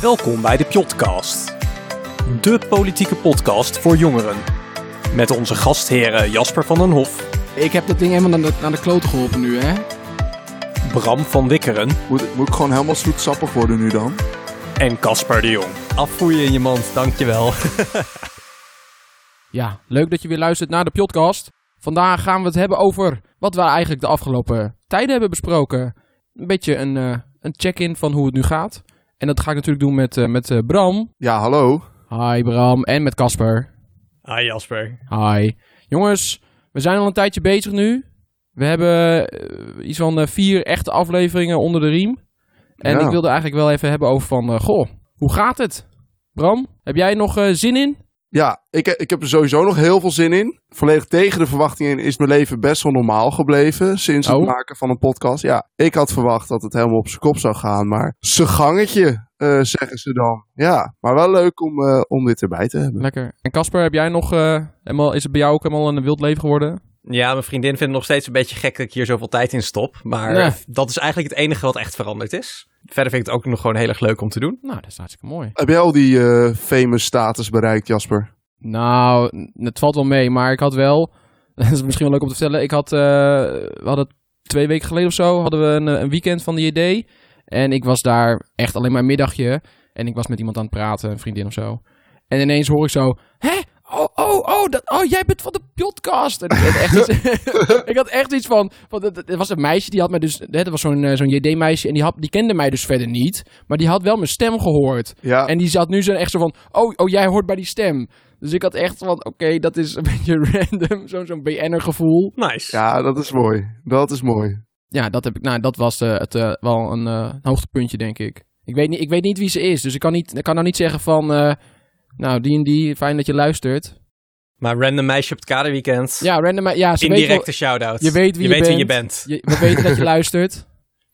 Welkom bij de Pjotcast. De politieke podcast voor jongeren. Met onze gastheren Jasper van den Hof, Ik heb dat ding helemaal aan de, aan de kloot geholpen nu, hè? Bram van Wikkeren Moet, moet ik gewoon helemaal zoetsappig worden nu dan? en Casper de Jong. Afvoeien in je mand, dankjewel. Ja, leuk dat je weer luistert naar de podcast. Vandaag gaan we het hebben over wat we eigenlijk de afgelopen tijden hebben besproken. Een beetje een, eh, een check-in van hoe het nu gaat. En dat ga ik natuurlijk doen met, eh, met eh, Bram. Ja, hallo. Hi Bram. En met Casper. Ah Jasper. Hi. Jongens, we zijn al een tijdje bezig nu. We hebben eh, iets van eh, vier echte afleveringen onder de riem. En Ja. ik wilde eigenlijk wel even hebben over van, eh, goh, hoe gaat het? Bram, heb jij nog eh, zin in? Ja, ik, ik heb er sowieso nog heel veel zin in. Volledig tegen de verwachtingen in is mijn leven best wel normaal gebleven sinds Oh. het maken van een podcast. Ja, ik had verwacht dat het helemaal op zijn kop zou gaan, maar ze gangetje, eh, zeggen ze dan. Ja, maar wel leuk om, eh, om dit erbij te hebben. Lekker. En Casper, heb jij nog, eh, helemaal, is het bij jou ook helemaal een wild leven geworden? Ja, mijn vriendin vindt het nog steeds een beetje gek dat ik hier zoveel tijd in stop. Maar Ja. dat is eigenlijk het enige wat echt veranderd is. Verder vind ik het ook nog gewoon heel erg leuk om te doen. Nou, dat is hartstikke mooi. Heb jij al die eh famous status bereikt, Jasper? Nou, n- het valt wel mee, maar ik had wel, dat is misschien wel leuk om te vertellen, ik had, eh, we hadden twee weken geleden of zo, hadden we een, eh, een weekend van de JD. En ik was daar echt alleen maar een middagje. En ik was met iemand aan het praten, een vriendin of zo. En ineens hoor ik zo, hè? Oh, oh, oh, dat, oh, jij bent van de podcast. En ik, had echt iets, ik had echt iets van, want het, het was een meisje, die had mij dus, hè, dat was zo'n eh, zo'n JD-meisje. En die, had, die kende mij dus verder niet, maar die had wel mijn stem gehoord. Ja, En die zat nu zo echt zo van, oh, oh jij hoort bij die stem. Dus ik had echt van, oké, dat is een beetje random, zo'n zo'n BN'er gevoel. Nice. ja, dat is mooi. Dat is mooi. Ja, dat, heb ik, nou, dat was eh, het, eh, wel een eh, hoogtepuntje, denk ik. Ik weet, niet, ik weet niet wie ze is, dus ik kan, niet, ik kan nou niet zeggen van, eh, nou, die en die, fijn dat je luistert. Maar random meisje op het kaderweekend. Ja, random, ja, ze weet wel- Indirecte shout-out. je weet wie je weet wie je bent. bent. je- we weten dat je luistert.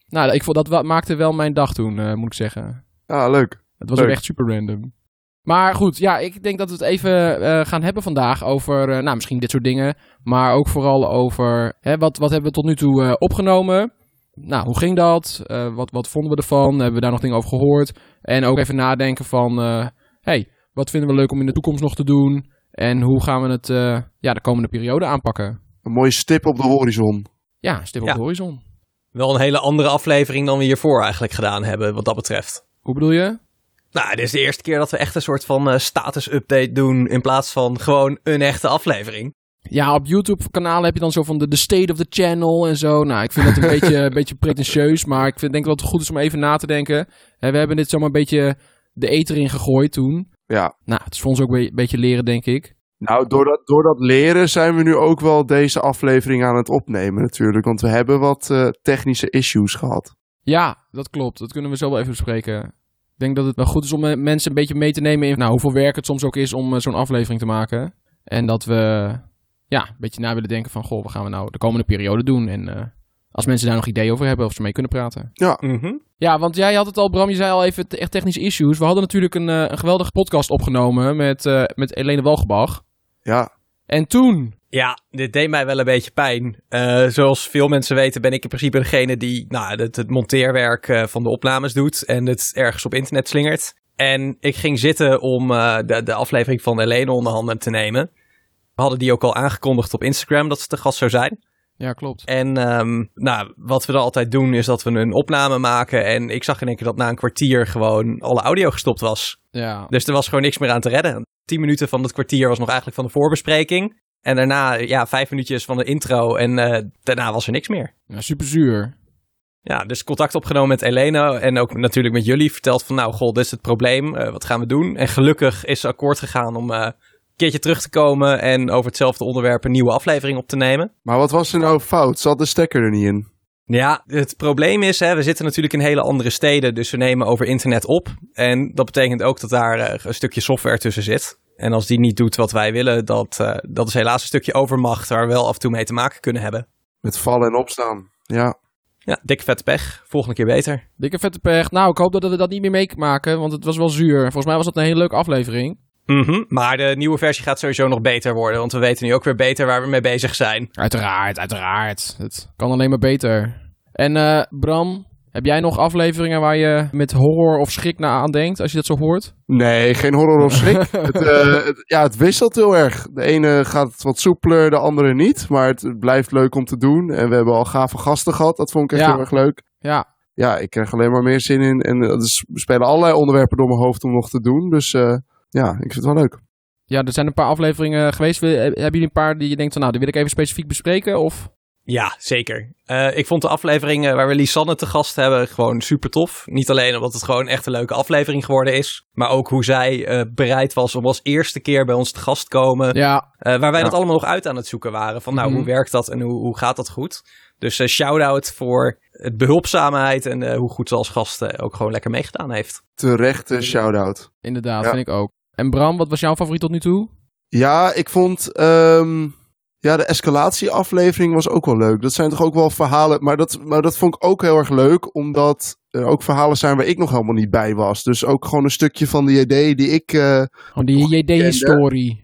Nou, ik vond, dat wa- maakte wel mijn dag toen, eh, moet ik zeggen. Ja, leuk. Het was Leuk. ook echt super random. Maar goed, ja, ik denk dat we het even eh, gaan hebben vandaag over, eh, nou, misschien dit soort dingen. Maar ook vooral over, hè, wat, wat hebben we tot nu toe eh, opgenomen? Nou, hoe ging dat? Eh, wat, wat vonden we ervan? Hebben we daar nog dingen over gehoord? En ook even nadenken van, eh, hey, wat vinden we leuk om in de toekomst nog te doen? En hoe gaan we het eh, ja, de komende periode aanpakken? Een mooie stip op de horizon. Ja, stip op Ja. de horizon. Wel een hele andere aflevering dan we hiervoor eigenlijk gedaan hebben, wat dat betreft. Hoe bedoel je? Nou, dit is de eerste keer dat we echt een soort van eh, status-update doen in plaats van gewoon een echte aflevering. Ja, op YouTube-kanalen heb je dan zo van de, de state of the channel en zo. Nou, ik vind dat een beetje, een beetje pretentieus, maar ik vind, denk wel dat het goed is om even na te denken. Hè, we hebben dit zomaar een beetje de eter in gegooid toen. Ja. Nou, het is voor ons ook een beetje leren, denk ik. Nou, door dat, door dat leren zijn we nu ook wel deze aflevering aan het opnemen natuurlijk. Want we hebben wat eh, technische issues gehad. Ja, dat klopt. Dat kunnen we zo wel even bespreken. Ik denk dat het wel goed is om eh, mensen een beetje mee te nemen in nou, hoeveel werk het soms ook is om eh, zo'n aflevering te maken. En dat we ja, een beetje na willen denken van, goh, wat gaan we nou de komende periode doen? En eh, als mensen daar nog ideeën over hebben of ze mee kunnen praten. Mhm. Ja, want jij had het al, Bram, je zei al even te- echt technische issues. We hadden natuurlijk een, eh, een geweldige podcast opgenomen met, eh met Elene Walgebach. Ja, En toen, Ja, dit deed mij wel een beetje pijn. Eh, zoals veel mensen weten ben ik in principe degene die nou, het, het monteerwerk eh, van de opnames doet en het ergens op internet slingert. En ik ging zitten om eh, de, de aflevering van Helene onder handen te nemen. We hadden die ook al aangekondigd op Instagram dat ze te gast zou zijn. ja klopt, En ehm, nou, wat we dan altijd doen is dat we een opname maken. En ik zag in één keer dat na een kwartier gewoon alle audio gestopt was. ja. Dus er was gewoon niks meer aan te redden. Tien minuten van dat kwartier was nog eigenlijk van de voorbespreking. En daarna, ja, vijf minuutjes van de intro. En eh, daarna was er niks meer. ja super zuur. Ja, dus contact opgenomen met Elena en ook natuurlijk met jullie. Verteld van, nou, goh, dit is het probleem. eh, wat gaan we doen? En gelukkig is ze akkoord gegaan om eh, een keertje terug te komen... en over hetzelfde onderwerp een nieuwe aflevering op te nemen. maar wat was er nou fout? Zat de stekker er niet in? Ja, het probleem is, hè, we zitten natuurlijk in hele andere steden, dus we nemen over internet op. En dat betekent ook dat daar eh, een stukje software tussen zit. En als die niet doet wat wij willen, dat, eh, dat is helaas een stukje overmacht waar we wel af en toe mee te maken kunnen hebben. Met vallen en opstaan. Ja, Ja, dikke vette pech. Volgende keer beter. Dikke vette pech. Nou, ik hoop dat we dat niet meer meemaken, want het was wel zuur. Volgens mij was dat een hele leuke aflevering. Mhm, Maar de nieuwe versie gaat sowieso nog beter worden, want we weten nu ook weer beter waar we mee bezig zijn. Uiteraard, uiteraard. Het kan alleen maar beter. En eh, Bram, Heb jij nog afleveringen waar je met horror of schrik naar aan denkt, als je dat zo hoort? Nee, geen horror of schrik. het, eh, het- ja, het wisselt heel erg. De ene gaat wat soepeler, de andere niet. Maar het, het blijft leuk om te doen. En we hebben al gave gasten gehad. Dat vond ik echt Ja. heel erg leuk. Ja, Ja, ik krijg alleen maar meer zin in. En eh, dus er spelen allerlei onderwerpen door mijn hoofd om nog te doen. Dus eh, ja, ik vind het wel leuk. ja er zijn een paar afleveringen geweest. Wil- Hebben jullie een paar die je denkt van, nou, die wil ik even specifiek bespreken? Of... Ja, zeker. Eh, ik vond de aflevering eh, waar we Lisanne te gast hebben gewoon super tof. Niet alleen omdat het gewoon echt een leuke aflevering geworden is, maar ook hoe zij eh, bereid was om als eerste keer bij ons te gast te komen. Ja, Eh, waar wij Ja. dat allemaal nog uit aan het zoeken waren. Van nou, Mhm. hoe werkt dat en hoe, hoe gaat dat goed? Dus eh shout-out voor het behulpzaamheid en eh, hoe goed ze als gast eh, ook gewoon lekker meegedaan heeft. Terechte shout-out. inderdaad, Ja. vind ik ook. En Bram, wat was jouw favoriet tot nu toe? Ja, ik vond. ehm, ja, de escalatieaflevering was ook wel leuk. Dat zijn toch ook wel verhalen. Maar dat, maar dat vond ik ook heel erg leuk, omdat er ook verhalen zijn waar ik nog helemaal niet bij was. Dus ook gewoon een stukje van de idee die ik. eh, Gewoon Oh, die JD-historie.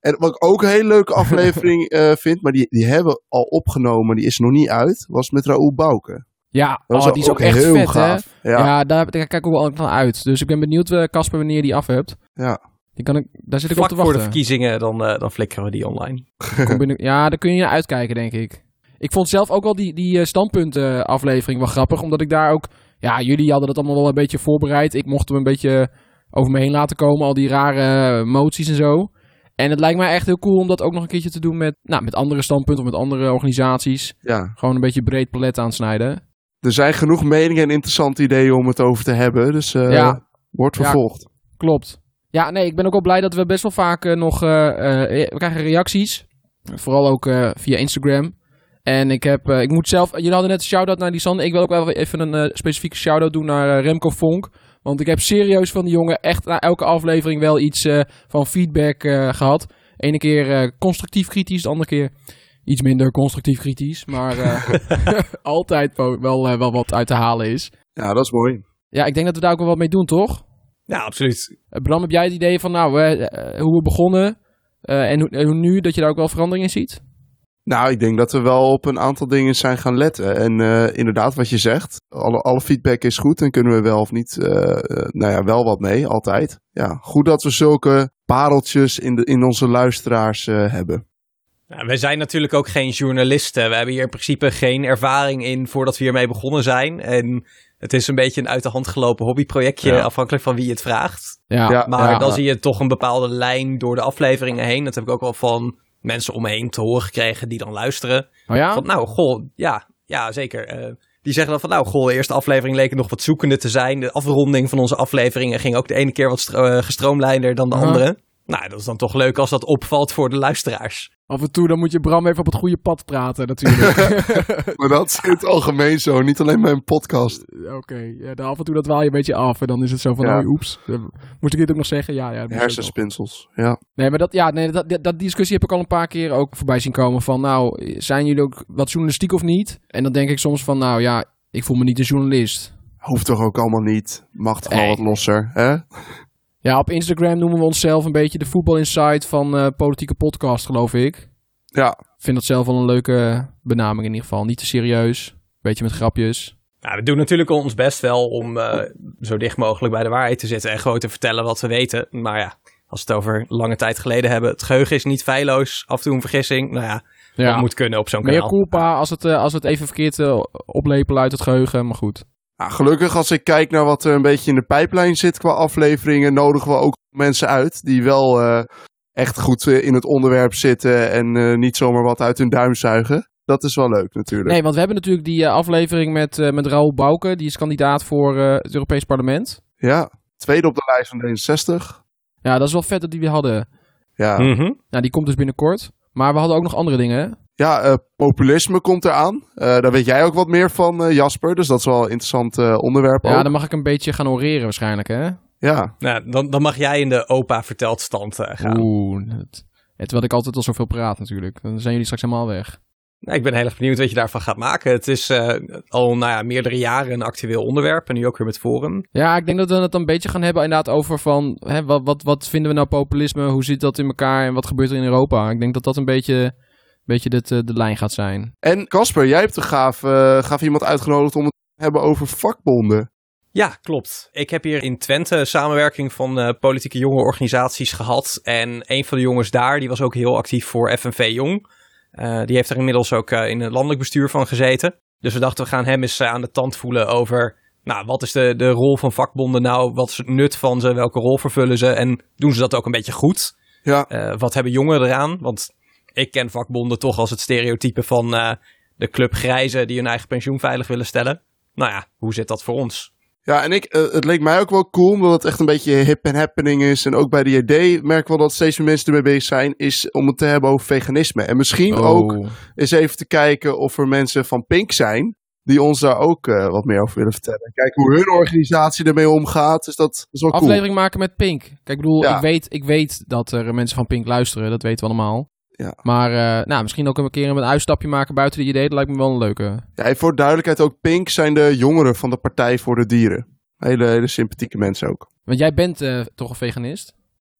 en wat ik ook een hele leuke aflevering eh, vind, maar die, die hebben we al opgenomen, die is nog niet uit, was met Raoul Bouke. Ja, Dat was oh, die is ook, echt heel vet, hè? gaaf. Ja, Ja, ja. daar, daar kijk ik ook wel naar uit. Dus ik ben benieuwd, eh, Casper, wanneer je die af hebt. Ja. Die kan ik, daar zit ik Vlak op te voor de wachten. verkiezingen, dan, eh, dan flikkeren we die online. Kom binnen- ja, daar kun je naar uitkijken, denk ik. Ik vond zelf ook wel die, die eh, standpunt-aflevering wel grappig. Omdat ik daar ook... Ja, jullie hadden dat allemaal wel een beetje voorbereid. Ik mocht hem een beetje over me heen laten komen. Al die rare eh, moties en zo. En het lijkt mij echt heel cool om dat ook nog een keertje te doen met, nou, met andere standpunten of met andere organisaties. Gewoon een beetje breed palet aansnijden. Er zijn genoeg meningen en interessante ideeën om het over te hebben, dus eh, Ja. wordt Ja. vervolgd. Klopt. Ja, nee, ik ben ook wel blij dat we best wel vaak eh, nog... eh, eh, we krijgen reacties. Vooral ook eh, via Instagram. En ik heb... eh, ik moet zelf... Jullie hadden net een shout-out naar Lisanne. Ik wil ook wel even een eh, specifieke shout-out doen naar eh, Remco Vonk. Want ik heb serieus van die jongen echt na elke aflevering wel iets eh, van feedback eh, gehad. Ene keer eh, constructief kritisch, de andere keer iets minder constructief kritisch. Maar eh, altijd wel, wel, eh, wel wat uit te halen is. Ja, dat is mooi. Ja, ik denk dat we daar ook wel wat mee doen, toch? Ja, absoluut. Eh, Bram, heb jij het idee van nou, eh, eh, hoe we begonnen eh, en, hoe, en hoe nu, dat je daar ook wel verandering in ziet? Nou, ik denk dat we wel op een aantal dingen zijn gaan letten. En eh, inderdaad, wat je zegt, alle, alle feedback is goed en kunnen we wel of niet, eh, eh, nou ja, wel wat mee, altijd. Ja, goed dat we zulke pareltjes in, de, in onze luisteraars eh, hebben. Nou, we zijn natuurlijk ook geen journalisten. We hebben hier in principe geen ervaring in voordat we hiermee begonnen zijn. En het is een beetje een uit de hand gelopen hobbyprojectje, Ja. afhankelijk van wie het vraagt. Ja, Maar ja. dan zie je toch een bepaalde lijn door de afleveringen heen. Dat heb ik ook al van mensen om me heen te horen gekregen die dan luisteren. Oh ja? Van nou, goh, ja, ja zeker. Eh, die zeggen dan van nou, goh, de eerste aflevering leek het nog wat zoekende te zijn. De afronding van onze afleveringen ging ook de ene keer wat stro- eh, gestroomlijnder dan de Aha. andere. Nou, dat is dan toch leuk als dat opvalt voor de luisteraars. Af en toe dan moet je Bram even op het goede pad praten natuurlijk. Maar dat is in het algemeen zo, niet alleen bij een podcast. Eh, Oké, ja, dan af en toe dat waal je een beetje af en dan is het zo van, Ja. oei, oeps, Eh, moest ik dit ook nog zeggen? Ja, ja. dat moest ook nog. Hersenspinsels, ja. Nee, maar dat, ja, nee, dat, dat, dat discussie heb ik al een paar keer ook voorbij zien komen. Van nou, zijn jullie ook wat journalistiek of niet? En dan denk ik soms van nou ja, ik voel me niet een journalist. Hoeft toch ook allemaal niet. Mag toch wel Nee. wat losser, hè? Ja, op Instagram noemen we onszelf een beetje de Voetbal Insight van eh, Politieke Podcast, geloof ik. Ja. Ik vind dat zelf wel een leuke benaming in ieder geval. Niet te serieus, beetje met grapjes. Nou, we doen natuurlijk ons best wel om eh, zo dicht mogelijk bij de waarheid te zitten en gewoon te vertellen wat we weten. Maar ja, als we het over lange tijd geleden hebben, het geheugen is niet feilloos. Af en toe een vergissing. Nou ja, Ja, dat moet kunnen op zo'n meer kanaal. culpa als het, eh, als het even verkeerd eh, oplepelen uit het geheugen, maar goed. Nou, gelukkig als ik kijk naar wat er een beetje in de pijplijn zit qua afleveringen, nodigen we ook mensen uit die wel eh, echt goed eh, in het onderwerp zitten en eh, niet zomaar wat uit hun duim zuigen. Dat is wel leuk natuurlijk. Nee, want we hebben natuurlijk die eh, aflevering met, eh met Raoul Bouke. Die is kandidaat voor eh, het Europees Parlement. Ja, tweede op de lijst van 61. Ja, dat is wel vet dat die we hadden. Ja, Mhm. Nou, die komt dus binnenkort. Maar we hadden ook nog andere dingen, hè? ja eh, populisme komt eraan. Eh daar weet jij ook wat meer van, eh, Jasper. Dus dat is wel een interessant eh, onderwerp Ja, ook. dan mag ik een beetje gaan oreren waarschijnlijk, hè? Ja, Nou, dan, dan mag jij in de opa verteld stand eh, gaan. Oeh, het, het, terwijl ik altijd al zoveel praat natuurlijk. Dan zijn jullie straks helemaal weg. Nou, ik ben heel erg benieuwd wat je daarvan gaat maken. Het is eh, al nou ja, meerdere jaren een actueel onderwerp en nu ook weer met Forum. Ja, ik denk dat we het dan een beetje gaan hebben inderdaad over van... Hè, wat, wat, wat vinden we nou populisme? Hoe zit dat in elkaar? En wat gebeurt er in Europa? Ik denk dat dat een beetje, een beetje dit, eh, de lijn gaat zijn. Oh, en Casper, jij hebt een gaaf, eh, gaaf iemand uitgenodigd om het hebben over vakbonden. Ja, klopt. Ik heb hier in Twente samenwerking van eh, politieke jonge organisaties gehad. En een van de jongens daar, die was ook heel actief voor FNV Jong. Eh, die heeft er inmiddels ook eh, in het landelijk bestuur van gezeten. Dus we dachten, we gaan hem eens eh, aan de tand voelen over... Nou, wat is de, de rol van vakbonden nou? Wat is het nut van ze? Welke rol vervullen ze? En doen ze dat ook een beetje goed? Ja, Eh, wat hebben jongeren eraan? Want ik ken vakbonden toch als het stereotype van eh, de club grijzen... die hun eigen pensioen veilig willen stellen. Nou ja, hoe zit dat voor ons? ja en ik, eh, het leek mij ook wel cool, omdat het echt een beetje hip en happening is. En ook bij de JD merk ik wel dat steeds meer mensen ermee bezig zijn, is om het te hebben over veganisme. En misschien ook Oh. eens even te kijken of er mensen van Pink zijn. Die ons daar ook eh, wat meer over willen vertellen. Kijken hoe hun organisatie ermee omgaat. Dus dat is wel cool. Aflevering maken met Pink. Kijk, ik bedoel, Ja. ik, weet, ik weet dat er mensen van Pink luisteren. Dat weten we allemaal. Ja. Maar eh, nou, misschien ook een keer een uitstapje maken buiten de idee. Dat lijkt me wel een leuke. Ja, en voor duidelijkheid ook, Pink zijn de jongeren van de Partij voor de Dieren. Hele, hele sympathieke mensen ook. Want jij bent eh, toch een veganist?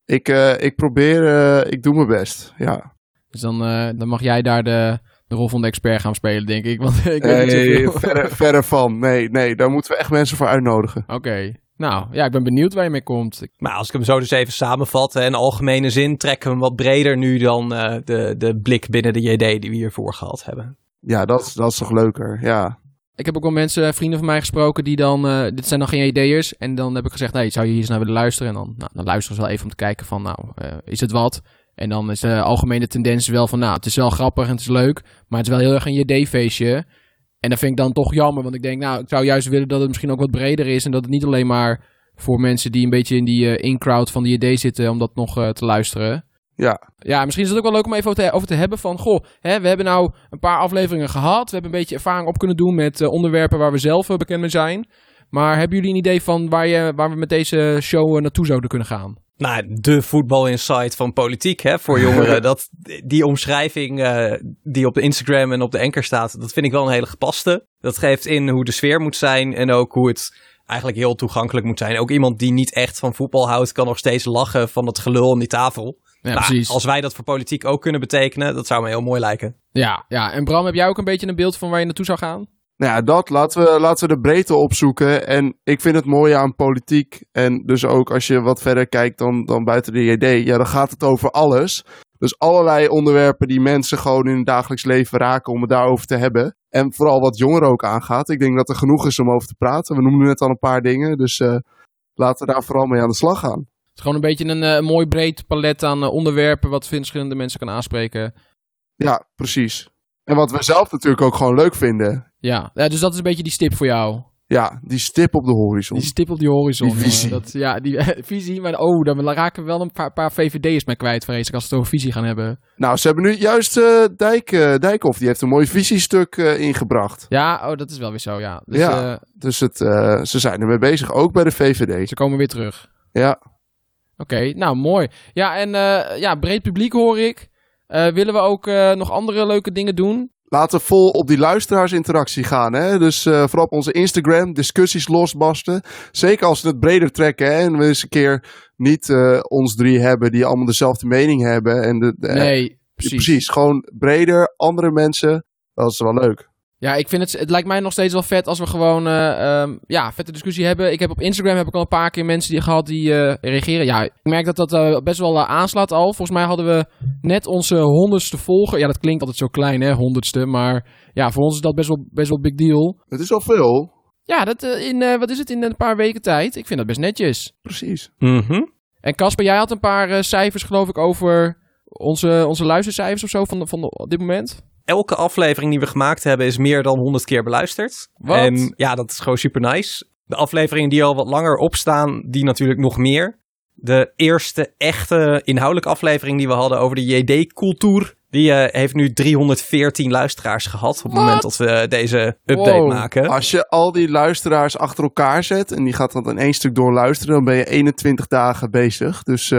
Ik, eh, ik probeer, eh, ik doe mijn best. Ja. Dus dan, eh, dan mag jij daar de, de rol van de expert gaan spelen, denk ik. Want ik weet niet Nee, zoveel. verre, verre van. Nee, nee, daar moeten we echt mensen voor uitnodigen. Oké. Nou, ja, ik ben benieuwd waar je mee komt. Ik- Maar als ik hem zo dus even samenvat, hè, in algemene zin trekken we hem wat breder nu dan eh, de, de blik binnen de JD die we hiervoor gehad hebben. Ja, dat, is- dat is toch leuker. Ja. Ik heb ook wel mensen, eh, vrienden van mij gesproken, die dan, eh, dit zijn dan geen ideeërs. En dan heb ik gezegd, hey, zou je hier eens naar willen luisteren? En dan, nou, dan luisteren ze wel even om te kijken van, nou, eh, is het wat? En dan is de algemene tendens wel van, nou, het is wel grappig en het is leuk, maar het is wel heel erg een JD-feestje. En dat vind ik dan toch jammer, want ik denk, nou, ik zou juist willen dat het misschien ook wat breder is. En dat het niet alleen maar voor mensen die een beetje in die eh, in-crowd van de JD zitten, om dat nog eh, te luisteren. Ja. Ja, misschien is het ook wel leuk om even over te, over te hebben van... Goh, hè, we hebben nou een paar afleveringen gehad. We hebben een beetje ervaring op kunnen doen met eh, onderwerpen waar we zelf eh, bekend mee zijn. Maar hebben jullie een idee van waar, je, waar we met deze show eh, naartoe zouden kunnen gaan? Nou, de voetbalinsight van politiek hè, voor jongeren. dat, die omschrijving eh, die op de Instagram en op de anker staat, dat vind ik wel een hele gepaste. Dat geeft in hoe de sfeer moet zijn en ook hoe het eigenlijk heel toegankelijk moet zijn. Ook iemand die niet echt van voetbal houdt, kan nog steeds lachen van het gelul aan die tafel. Ja, Nou, precies. Als wij dat voor politiek ook kunnen betekenen, dat zou me heel mooi lijken. Ja, ja, en Bram, heb jij ook een beetje een beeld van waar je naartoe zou gaan? Nou ja, dat laten we, laten we de breedte opzoeken. En ik vind het mooie aan politiek. En dus ook als je wat verder kijkt dan, dan buiten de JD. Ja, dan gaat het over alles. Dus allerlei onderwerpen die mensen gewoon in het dagelijks leven raken om het daarover te hebben. En vooral wat jongeren ook aangaat. Ik denk dat er genoeg is om over te praten. We noemden net al een paar dingen. Dus eh, laten we daar vooral mee aan de slag gaan. Het is gewoon een beetje een eh, mooi breed palet aan eh, onderwerpen... wat verschillende mensen kan aanspreken. Ja, precies. En wat we zelf natuurlijk ook gewoon leuk vinden. Ja, ja dus dat is een beetje die stip voor jou. Ja, die stip op de horizon. Die stip op die horizon. Die jongen. visie. Dat, ja, die visie. Maar oh, dan raken we wel een paar, paar VVD'ers mee kwijt, vrees ik, als we het over visie gaan hebben. Nou, ze hebben nu juist eh, Dijk, eh, Dijkhoff. Die heeft een mooi visiestuk eh, ingebracht. Ja, oh, dat is wel weer zo, ja. Dus Ja. eh, Dus het, eh, ze zijn ermee bezig, ook bij de VVD. ze komen weer terug. Ja, Oké, nou mooi. Ja, en eh, ja, breed publiek hoor ik. Eh, willen we ook eh, nog andere leuke dingen doen? laten we vol op die luisteraarsinteractie gaan. Hè? Dus eh, vooral op onze Instagram, discussies losbarsten. Zeker als we het breder trekken hè? en we eens een keer niet eh, ons drie hebben die allemaal dezelfde mening hebben. En de, de- nee, Ja, precies. gewoon breder, andere mensen. Dat is wel leuk. Ja, ik vind het, het lijkt mij nog steeds wel vet als we gewoon eh, ehm, ja, vette discussie hebben. Ik heb op Instagram heb ik al een paar keer mensen die gehad die eh, reageren. Ja, ik merk dat dat eh, best wel eh, aanslaat al. Volgens mij hadden we net onze honderdste volger. Ja, dat klinkt altijd zo klein hè, honderdste. Maar ja, voor ons is dat best wel, best wel big deal. Het is al veel. Ja, dat eh, in, eh, wat is het, in een paar weken tijd? Ik vind dat best netjes. Precies. Mhm. En Casper, jij had een paar eh, cijfers geloof ik over onze, onze luistercijfers of zo van, de- van de- op dit moment. elke aflevering die we gemaakt hebben is meer dan 100 keer beluisterd. Wat? En ja, dat is gewoon super nice. De afleveringen die al wat langer opstaan, die natuurlijk nog meer. De eerste echte inhoudelijke aflevering die we hadden over de JD-cultuur, die eh, heeft nu 314 luisteraars gehad op het Wat? moment dat we deze update Wow. Ah. maken. Als je al die luisteraars achter elkaar zet en die gaat dat in één stuk doorluisteren, dan ben je 21 dagen bezig. Dus eh,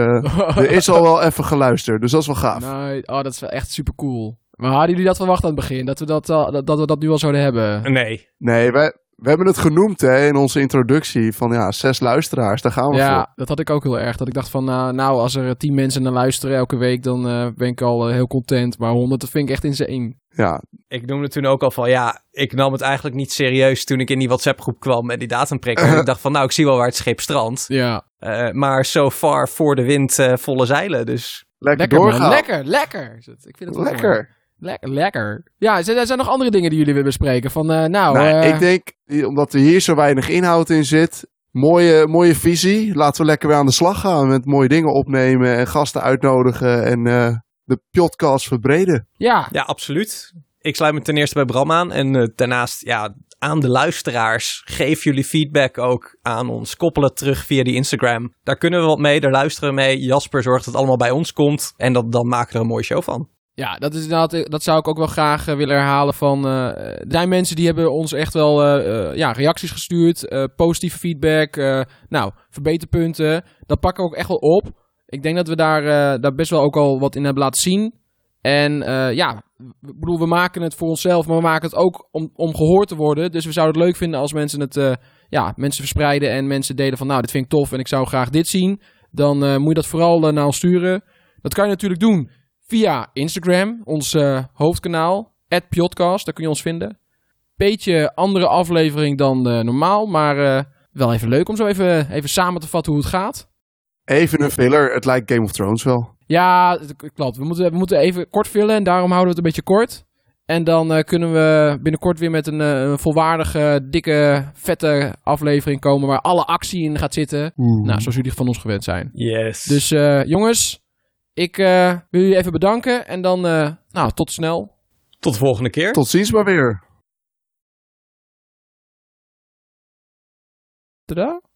er is al wel even geluisterd. Dus dat is wel gaaf. Nee, oh, dat is wel echt super eh, cool. Maar hadden jullie dat verwacht aan het begin? Dat we dat, al- dat, dat, we dat nu al zouden hebben? Nee. Nee, wij, We hebben het genoemd hè, in onze introductie van ja, zes luisteraars, daar gaan we voor. Ja, dat had ik ook heel erg. Dat ik dacht van, nou, nou als er tien mensen naar luisteren elke week, dan eh, ben ik al eh, heel content. Maar honderd, dat vind ik echt insane. Ja, Ik noemde toen ook al van, ja, ik nam het eigenlijk niet serieus toen ik in die WhatsApp-groep kwam en die datum prikken. ik dacht van, nou, ik zie wel waar het schip strandt. Ja, Eh, maar so far voor de wind eh, volle zeilen, dus... lekker, lekker man. doorgaan. Lekker, lekker. Is het. Ik vind het wel mooi. Lekker. Lekker, lekker. Ja, zijn, er zijn nog andere dingen die jullie willen bespreken? Van, eh, nou, nou, eh, ik denk, eh, omdat er hier zo weinig inhoud in zit, mooie, mooie visie. Laten we lekker weer aan de slag gaan met mooie dingen opnemen en gasten uitnodigen en eh, de podcast verbreden. ja, Ja, absoluut. Ik sluit me ten eerste bij Bram aan. En eh, daarnaast, ja, aan de luisteraars. Geef jullie feedback ook aan ons. Koppel het terug via die Instagram. Daar kunnen we wat mee, daar luisteren we mee. Jasper zorgt dat het allemaal bij ons komt. En dat, dan maken we er een mooie show van. Ja, dat, is inderdaad, eh, dat zou ik ook wel graag eh, willen herhalen. Van, eh, er zijn mensen die hebben ons echt wel eh, eh, ja, reacties gestuurd, eh, positieve feedback, eh, nou, verbeterpunten. Dat pakken we ook echt wel op. Ik denk dat we daar, eh, daar best wel ook al wat in hebben laten zien. En eh, ja, ik bedoel, we maken het voor onszelf, maar we maken het ook om, om gehoord te worden. Dus we zouden het leuk vinden als mensen het eh, ja, mensen verspreiden en mensen delen van, nou, dit vind ik tof en ik zou graag dit zien. Dan eh, moet je dat vooral eh, naar ons sturen. Dat kan je natuurlijk doen via Instagram, ons eh, hoofdkanaal, @podcast, daar kun je ons vinden. Beetje andere aflevering dan eh, normaal, maar eh, wel even leuk om zo even, even samen te vatten hoe het gaat. Even een filler, het lijkt Game of Thrones wel. Ja, het- het klopt. We moeten, we moeten even kort vullen en daarom houden we het een beetje kort. En dan eh, kunnen we binnenkort weer met een, eh, een volwaardige, dikke, vette aflevering komen waar alle actie in gaat zitten. Mm. Nou, zoals jullie van ons gewend zijn. Yes. Dus Dus eh, jongens, ik eh, wil jullie even bedanken en dan eh, nou, tot snel. tot de volgende keer. Tot ziens maar weer. Tada.